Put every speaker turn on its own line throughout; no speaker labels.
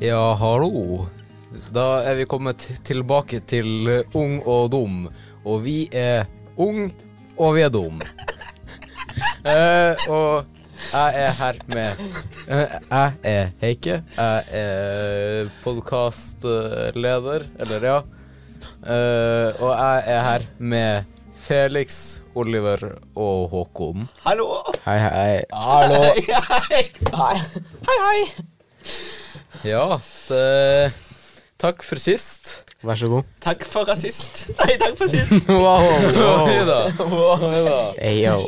Ja, hallo. Da er vi kommet tilbake til eh, Ung og dum. Og vi er ung, og vi er dum. Eh, og jeg er her med eh, Jeg er Heike. Jeg er podkastleder, eller ja. Eh, og jeg er her med Felix, Oliver og Håkon.
Hallo!
Hei, hei.
Hallo.
Hei! Hei, hei!
Ja, det, takk for sist.
Vær så god.
Takk for rasist. Nei, takk for sist.
Wow,
Oi da.
Ayo.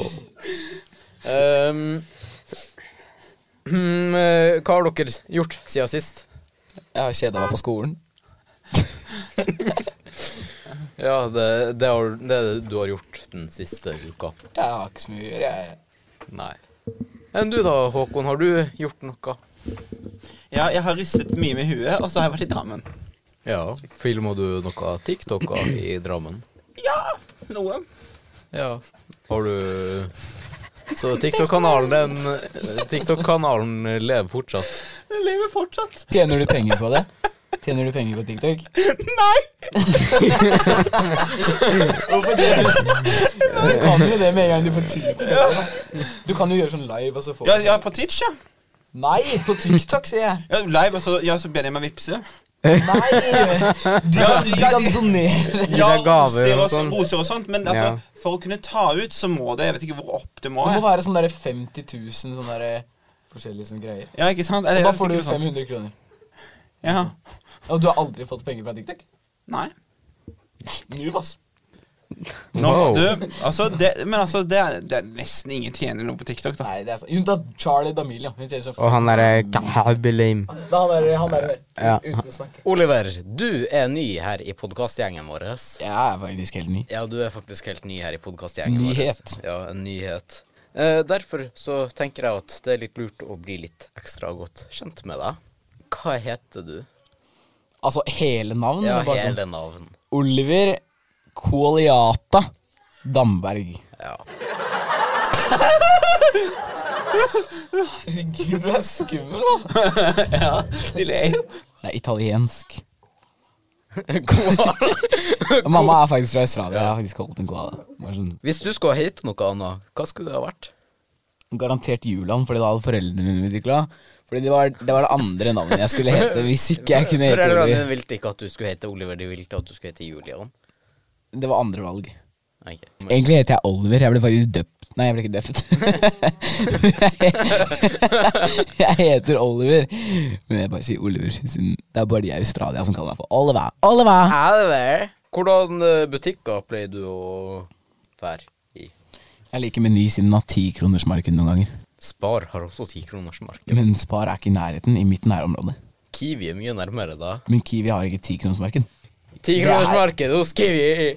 Ehm, hmm, eh, hva har dere gjort siden sist?
Jeg har kjeda meg på skolen.
Ja, det, det, har, det er det du har gjort den siste uka.
Jeg har ikke så mye å gjøre. jeg.
Nei. Enn du da, Håkon, har du gjort noe?
Ja, jeg har rystet mye med huet, og så har jeg vært i Drammen.
Ja. Filma du noe TikToker i Drammen?
Ja, noe.
Ja. Har du Så TikTok-kanalen den TikTok-kanalen lever fortsatt.
Jeg lever fortsatt.
Tjener du penger på det? Tjener du penger på TikTok?
Nei!
Du kan jo det med en gang du får tusen penger. Du kan jo gjøre sånn live, og så får
Ja,
du
ja på Twitch, ja.
Nei, på TikTok, sier jeg.
ja live, og så, ja, så ber jeg meg vippse.
Nei! Du
Ja,
kan, du
ja,
kan
de-
donere.
Ja,
deg gaver
roser
og
og,
sånn.
roser og sånt, men altså, for å kunne ta ut, så må det Jeg vet ikke hvor opp det må.
Det må
Jeg.
være sånn derre 50 000 sånne derre forskjellige sånne greier.
Ja, ikke sant?
Og
Eller,
da får du
sikkert sånn.
500 kroner.
Ja.
Og du har aldri fått penger fra TikTok?
Nei.
Nu, ass.
Nå,
Wow.
du, altså, det, men altså, det er, det er nesten ingen tjener noe på TikTok, da.
Nei, det er sant. Unntatt Charlie D'Amelia. Hun tjener seg
Og han derre Kahabilim.
Da han er han er
Ja.
uten å snakke.
Oliver, du er ny her i podkastgjengen vår.
Jeg er faktisk helt ny.
Ja, du er faktisk helt ny her i podkastgjengen.
Nyhet.
Ja, en nyhet. Eh, derfor så tenker jeg at det er litt lurt å bli litt ekstra godt kjent med deg. Hva heter du?
Altså hele navnet? sånn
Ja, hele navn.
Oliver Koliata Damberg.
Ja.
Herregud, du er skummel, da.
De ler jo.
Det er italiensk.
Hva-
Mamma er faktisk fra Australia. Jeg har faktisk holdt en koala. Bare sånn,
Hvis du skulle ha hete noe annet, hva skulle det ha vært?
garantert Juland, fordi da hadde foreldrene mine utvikla. Fordi det var, det var det andre navnet jeg skulle hete hvis ikke jeg kunne hete
Foreldrene
Oliver.
dine ville ikke at du skulle hete Oliver, de ville at du skulle hete Julian.
Det var andre valg.
Ok. Men-
Egentlig heter jeg Oliver. Jeg ble faktisk døpt Nei, jeg ble ikke døpt. jeg heter Oliver. Men jeg bare sier Oliver. siden Det er bare de i Australia som kaller meg for Oliver. Oliver!
Oliver. Hvordan eh, butikker pleier du å være i?
Jeg liker Meny siden den har tikronersmarked noen ganger.
Spar har også tikronersmarked.
Men Spar er ikke i nærheten i mitt nærområde.
Kiwi er mye nærmere da.
Men Kiwi har ikke tikronersmarked.
Tikronersmarked hos Kiwi.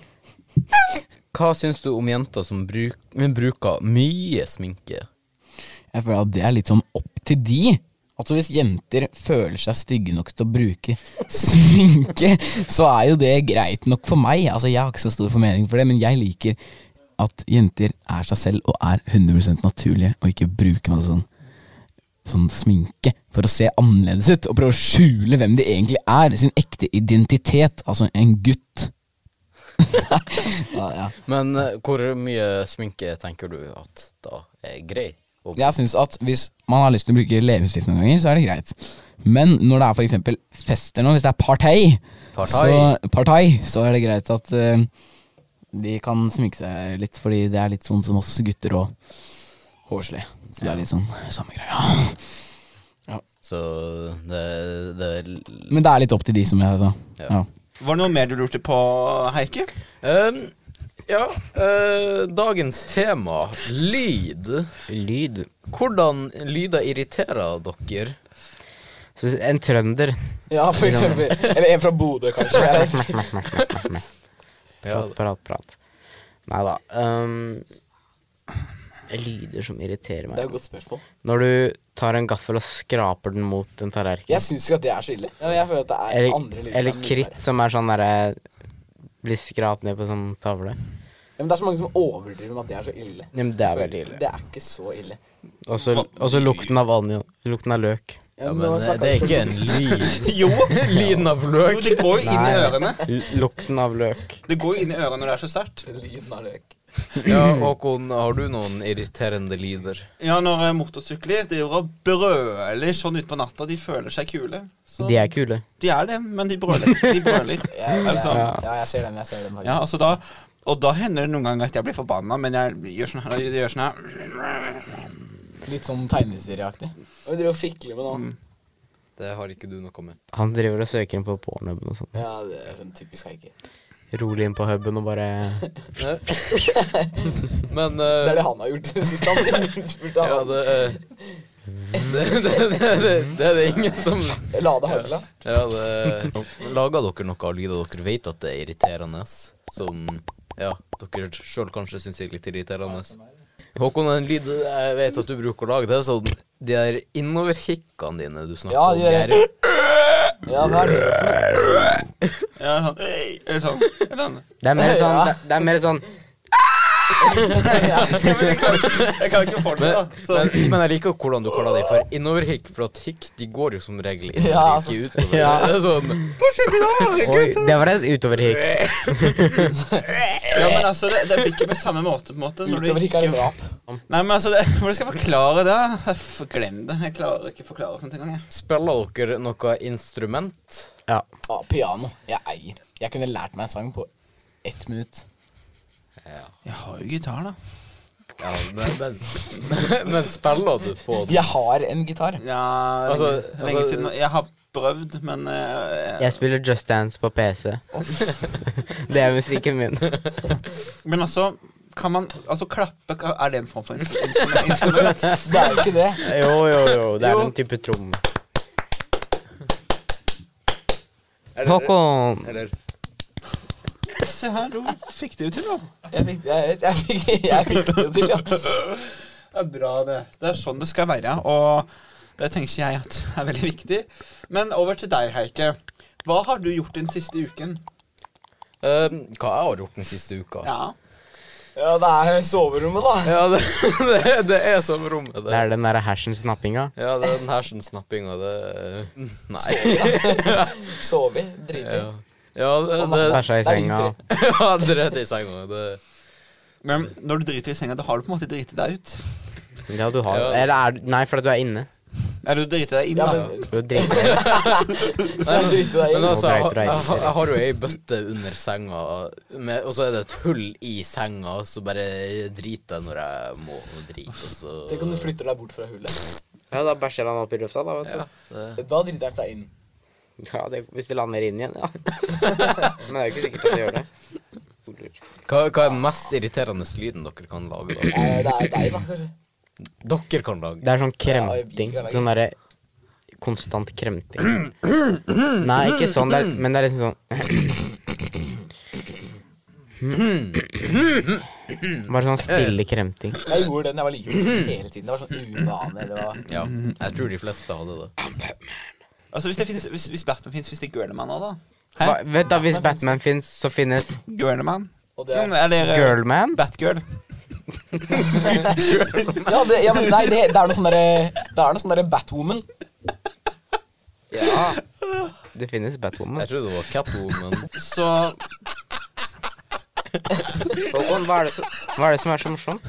Hva syns du om jenter som bruk, men bruker mye sminke?
Jeg føler at det er litt sånn opp til de. Altså Hvis jenter føler seg stygge nok til å bruke sminke, så er jo det greit nok for meg. Altså Jeg har ikke så stor formening for det, men jeg liker at jenter er seg selv og er 100 naturlige, og ikke bruker masse sånn Sånn sminke for å se annerledes ut, og prøve å skjule hvem de egentlig er. Sin ekte identitet. Altså en gutt. ja, ja.
Men eh, hvor mye sminke tenker du at da er grei? Og
Jeg synes at hvis man har lyst til å bruke leppestift noen ganger, så er det greit. Men når det er for eksempel fester nå, hvis det er partei,
Partei.
Så, partei, så er det greit at eh, de kan sminke seg litt, fordi det er litt sånn som oss gutter og hårsle. Så det er litt sånn samme greia.
Så det, det er-
Men det er litt opp til de, som jeg sa.
Ja.
Ja.
Var det noe mer du lurte på, Heike?
Ehm, Ja, eh, dagens tema, lyd.
Lyd.
Hvordan lyder irriterer dere?
Så hvis en trønder
ja, for eksempel. Eller en fra Bodø, kanskje.
Ja,
Prat, prat, prat. Nei da. Um, lyder som irriterer
Det er et
meg.
godt spørsmål.
Når du tar en gaffel og skraper den mot en tallerken.
Jeg syns ikke at det er så ille. Ja, men jeg føler at det er andre
Eller,
lyder.
eller
enn lyder
kritt,
her.
som er sånn derre Blir skrapt ned på sånn tavle.
Ja, men det er så mange som overdriver med at det er så ille.
Ja, men det er veldig ille.
Det er ikke så ille.
Og så lukten av onion. Lukten av løk.
Ja, men
eh,
eh, det, det er ikke en lyd.
Jo!
Lyden av
jo,
løk.
det går jo inn i
Nei.
ørene.
Lukten av løk.
Det går jo inn i ørene når det er så sterkt.
Ja, Håkon, har du noen irriterende lyder?
Ja, når eh, motorsykler driver og brøler sånn utpå natta, de føler seg kule. Så
De er kule.
de er det, men de brøler. De brøler. altså,
ja.
Ja, jeg ser den. jeg ser den faktisk.
ja, altså da, og da hender det noen ganger at jeg blir forbanna, men jeg gjør sånn her. Jeg gjør sånn her.
Litt sånn tegneserieaktig. Og vi driver og fikler med
Mm.
noe.
Det har ikke du noe med.
Han driver og søker inn på pornhuben og sånn.
Ja, det er sånn typisk Heikki.
Rolig inn på huben og bare
Eh, Men eh,
Det er det han har gjort sist han spurte
ja,
han.
det, eh, det, det, det, det, det er det ingen som
La det hagle.
Ja, det Lager dere noe av lyder dere vet at det er irriterende? Som ja, dere sjøl kanskje syns er litt irriterende? Håkon, en lyd jeg vet at du bruker å lage, det er sånn De der innoverhikkene dine du snakker
Ja,
om,
de
de
der-
er
Ja, hva er det for noe?
Ja, sånn, «Øy!» eller sånn. Eller sånn.
Det er mer sånn,
Ja.
det, det er mer sånn
Ja, men jeg, kan, jeg kan ikke få det
Men,
til, da.
men, men jeg liker hvordan du kaller det for innoverhikk, for at hikk de går jo som regel innover,
Ja, altså.
ikke utover.
Ja.
Det er sånn
Oi, det var et utoverhikk.
Så, ja, men altså, det, det blir ikke på samme måte. på en måte når du
Utover ikke er det bra.
Nei, men altså, det, Når du skal forklare det f- Glem det. Jeg klarer ikke å forklare sånt engang. jeg.
Spiller dere noe instrument?
Ja.
Ja, piano. Jeg eier. Jeg kunne lært meg en sang på ett minutt.
Jeg har jo gitar, da.
Ja, men, men, men spiller du på det?
Jeg har en gitar.
Ja, lenge,
Altså,
lenge
altså-
siden. Jeg har prøvd, men eh,
Jeg spiller Just Dance på PC. Det er musikken min.
Men altså, kan man Altså, klappe ka- Er det en form for instru- instru- instrument?
Det er jo ikke det.
Jo, jo, jo. Det er
Jo.
en type trom. Håkon.
Eller
Se her, du fikk det jo til, da.
Jeg fikk, jeg, jeg fikk, jeg fikk det til, ja.
Det er bra, det. Det er sånn det skal være, og det tenker jeg at er veldig viktig. Men over til deg, Heike. Hva har du gjort den siste uken?
eh, Hva jeg har gjort den siste uka?
Ja.
Ja, det er soverommet, da.
Ja, det, det, det er som rommet
Det er den derre hashen-snappinga.
Ja, det er den hersen-snappinga, det er- Nei.
Sove i. Drite i.
Ja, ja det, det,
Bæsja i
det er din
senga.
tur.
ja, Dreit i senga. Det,
Men når du driter i senga, da har du på en måte driti deg ut.
Ja, du har
Ja.
Eller er du Nei, for at du er inne.
Eller du driter deg inn,
Ja,
da.
men
Du
Nei,
drikker.
men-
drite deg
Men
i.
altså, jeg,
Nå dreit du deg i
jeg, har- jeg har jo ei bøtte under senga, med, og så er det et hull i senga, så bare driter jeg når jeg må drite, og så
Tenk om du flytter deg bort fra hullet.
Ja, da bæsjer han opp i lufta, da, vet
ja,
du.
det,
Da driter han seg inn.
Ja, det, hvis det lander inn igjen, ja. Men det er jo ikke sikkert at det gjør det.
hva, hva er den mest irriterende lyden dere kan lage? da?
Eh, Det er deg, da, kanskje.
Dere kan lage.
Det er sånn
Ja, jeg
kremting.
liker det.
Sånn derre konstant kremting. Nei, ikke sånn, det er, men det er liksom sånn Bare sånn stille kremting.
Jeg gjorde den jeg var liten hele tiden. Det var sånn uvane eller hva.
Ja, jeg tror de fleste hadde det.
Altså, hvis, det finnes, hvis, hvis Batman fins, hvis det er Girlman òg, da? Hæ?
Hva, vet da, Hvis Batman fins, så finnes
Girlman?
Og det er-
Eller eh,
Girlman.
Batgirl.
Ja, det, ja, men nei, det, det er noe sånn derre Det er noe sånn derre Batwoman.
Ja. Det finnes Batwoman.
Jeg trodde det var Catwoman.
Så
Håkon, hva er, det som, hva er det som er så morsomt?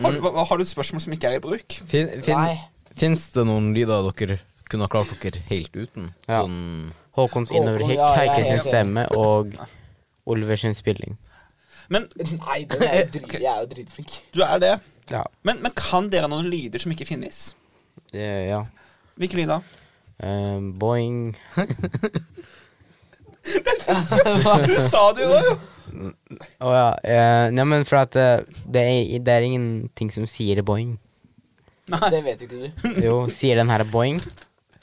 har, du- hva- har du et spørsmål som ikke er i bruk?
Fin, fin,
Nei.
Fins det noen lyder dere kunne ha klart dere helt uten?
Ja.
Sånn
Håkons
Håkon,
innoverhikk,
ja, jeg er
Heike sin
helt enig.
stemme og Oliver sin spilling.
Men
Nei, den er jo drit, jeg er jo dritflink.
du er det.
Ja.
Men, men kan dere noen lyder som ikke finnes?
Det, ja.
Hvilke lyder?
Eh, boing.
Du sa det jo, da! jo.
Å ja. eh, nei, men for at eh, det, er, det er ingenting som sier boing.
Det vet jo ikke du.
Jo, sier den her boing?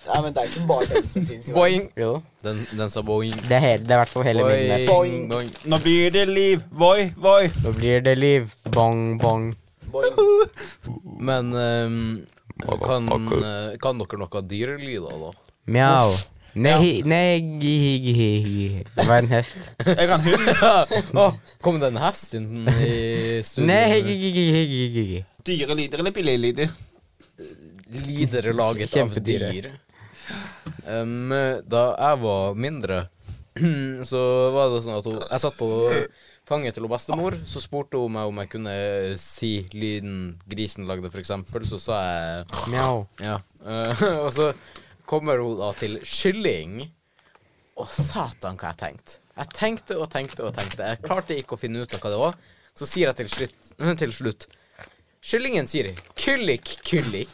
Nei, men det er ikke bare den som finnes i verden.
Boing!
Jo.
Den, den sa boing.
Det er, he- det er i hvert fall hele bilden der.
Boing,
Boing.
boing.
Nå blir det liv. Voi, voi.
Nå blir det liv. Bong, bong.
Boing.
Men ehm, kan, eh, kan dere noe dyrelyder, da?
Mjau. Nei, nei, gi, gi, gi, gi. Det var en hest.
Jeg kan hund.
Å, kom det en hest inn i studio?
Nei, gi, gi, gi, gi, gi, gi.
Dyre lyder eller billige lyder?
lyder laget av
Kjempedyre.
dyr. Um, da jeg var mindre, så var det sånn at hun Jeg satt på fanget til hun bestemor, så spurte hun meg om jeg kunne si lyden grisen lagde, for eksempel, så sa jeg
Mjau.
ja. eh, og så kommer hun da til kylling. Å, satan, hva jeg tenkte. Jeg tenkte og tenkte og tenkte. Jeg klarte ikke å finne ut av hva det var. Så sier jeg til slutt, til slutt. Kyllingen sier kyllik, kyllik.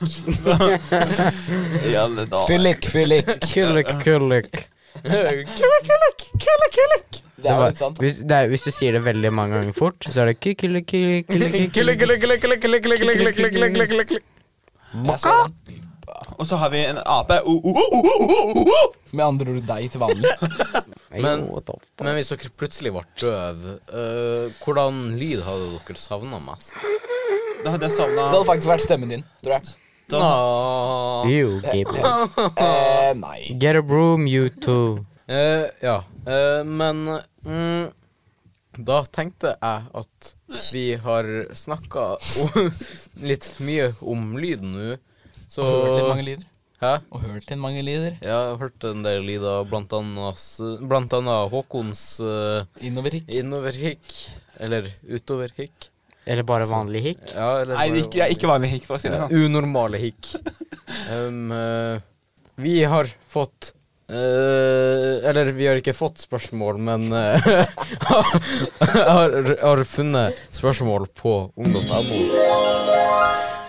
I alle dager.
Fyllik, fyllik.
Kullik, kullik.
kyllik, kyllik, kyllik, kyllik.
Det er
var-
litt sant.
Hvis, det er, hvis du sier det veldig mange ganger fort, så er det kullik, kullik, kullik, kullik,
Kyllik,
kullik.
kyllik, kyllik, kyllik, kyllik, kyllik, kyllik, kyllik, kyllik, kyllik, kyllik, kyllik.
Og så har vi en ape. Oh, oh, oh, oh, oh, oh, oh.
Med andre ord deg til vanlig.
Nei,
Men-
jo, topp.
Men hvis dere plutselig ble døve, eh, hvordan lyd hadde dere savna mest?
Da hadde jeg savna
Det hadde faktisk vært stemmen din, tror jeg.
Ah.
You gamer.
Eh, nei.
Get a broom, you two.
Eh, ja, eh, men mm, da tenkte jeg at vi har snakka litt mye om lyden nå, så
Og hørt litt mange lyder.
Hæ?
Og hørt litt mange lyder.
Jeg har hørt en del lyder, blant annet, s- blant annet Håkons eh,
Innover hikk.
innoverhikk, eller utoverhikk.
Eller bare vanlig hikk.
Ja, eller
Nei, det er ikke, jeg er ikke vanlig hikk, for å si det
Ja,
sånn.
Eh, unormale hikk. Um, eh, vi har fått eh, Eller vi har ikke fått spørsmål, men eh, har, har funnet spørsmål på ungdom.no.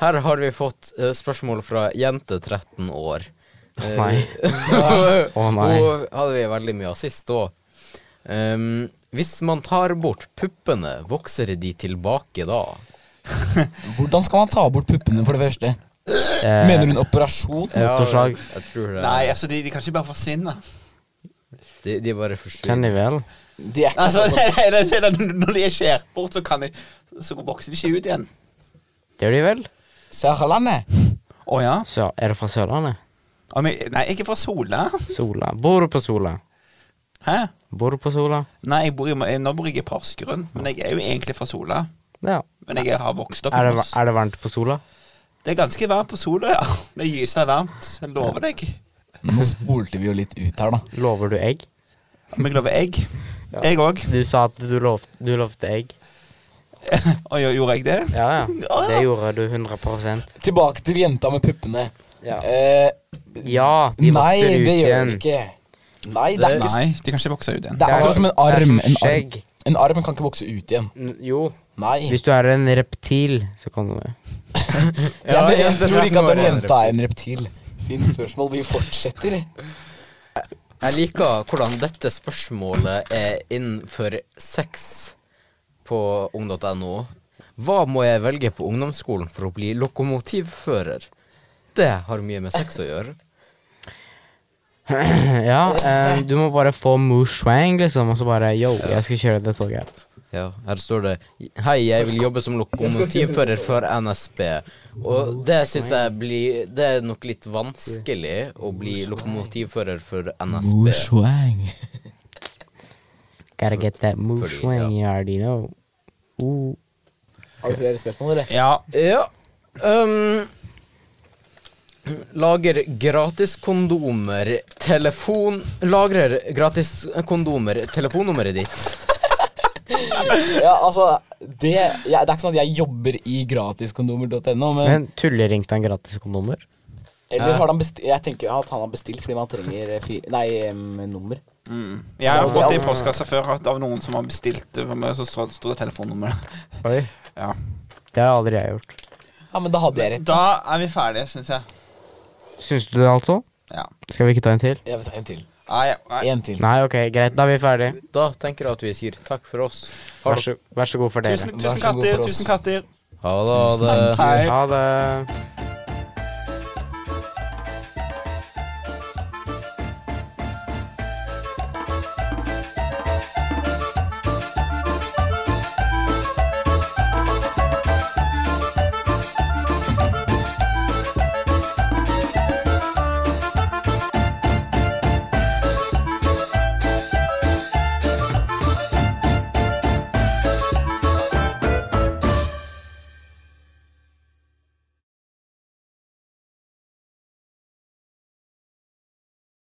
Her har vi fått eh, spørsmål fra jente 13 år. Eh,
Nei. Å, nei.
Hun hadde vi veldig mye av sist òg. Um, hvis man tar bort puppene, vokser de tilbake da?
Hvordan skal man ta bort puppene, for det første?
Eh,
Mener hun operasjon?
Motorsag.
Ja, jeg tror det.
Nei, altså, de, de kan ikke bare forsvinne.
De, de bare
Kan
forsvinner.
de vel?
De er ikke
Altså,
sånn.
det, det, det, det, når de er skjært bort, så, kan de, så vokser de ikke ut igjen.
Det gjør de vel?
Sørlandet.
Å ja?
Så, er du fra Sørlandet?
Ja, men- Nei, jeg er fra Sola.
Sola. Bor du på Sola?
Hæ?
Bor du på Sola?
Nei, jeg bor i, nå bor jeg i Porsgrunn, men jeg er jo egentlig fra Sola.
Ja.
Men jeg har vokst opp i
Er det,
Moss.
er det varmt på Sola?
Det er ganske varmt på Sola, ja. Det gyser varmt. Jeg lover deg.
Nå spolte vi jo litt ut her, da.
Lover du egg?
Om jeg lover egg? Jeg òg.
Du sa at du, lov, du lovte egg.
Og jo- gjorde jeg det?
Ja, ja. Det gjorde du 100
Tilbake til jenta med puppene.
Ja.
Eh,
Ja, de
nei,
vokser ut
det gjør
igjen.
vi ikke. Nei, det er ikke
Nei, de kan ikke vokse ut igjen.
Det er akkurat som en
Det er
arm.
som
En arm,
skjegg.
en arm kan ikke vokse ut igjen.
N- Jo.
Nei.
Hvis du er en reptil, så kan du det.
Ja, men jeg
jente
tror ikke
13 år
at den
er en
jenta
reptil.
er en reptil. Fint spørsmål. Vi fortsetter.
Jeg liker hvordan dette spørsmålet er innenfor sex på ung.no. Hva må jeg velge på ungdomsskolen for å bli lokomotivfører? Det har mye med sex å gjøre.
Ja, eh, du må bare få moshwang, liksom, og så bare yo, jeg skal kjøre det toget her.
Ja, her står det Hei, jeg vil jobbe som lokomotivfører for NSB. Og det syns jeg blir Det er nok litt vanskelig å bli lokomotivfører for NSB.
Gotta get that moshwang,
Fordi,
you already know. Ooh.
Har du flere spørsmål, eller?
Ja.
Ja. Um, lager gratiskondomer, telefon Lagrer gratiskondomer, telefonnummeret ditt.
Ja, altså, det, jeg, det er ikke sånn at jeg jobber i gratiskondomer.no, men,
Men tulleringte han gratis kondomer?
Eller har han bestilt Jeg tenker at han har bestilt fordi man trenger fire Nei, em, nummer.
Mm. Jeg har fått det i postkassa før at av noen som har bestilt det for meg, så står står det telefonnummeret.
Oi.
Ja.
Det har aldri jeg gjort.
Ja, men da hadde jeg rett.
Da er vi ferdige, syns jeg.
Syns du det, altså?
Ja.
Skal vi ikke ta en til?
Jeg vil ta en til.
Nei, nei.
En til.
Nei, ok, greit. Da er vi ferdige.
Da tenker jeg at vi sier takk for oss.
Vær så, vær så god for dere.
Tusen,
Vær
tusen
så god
katter,
for oss.
tusen katter.
Ha det. Ha det.
Hei.
Ha det.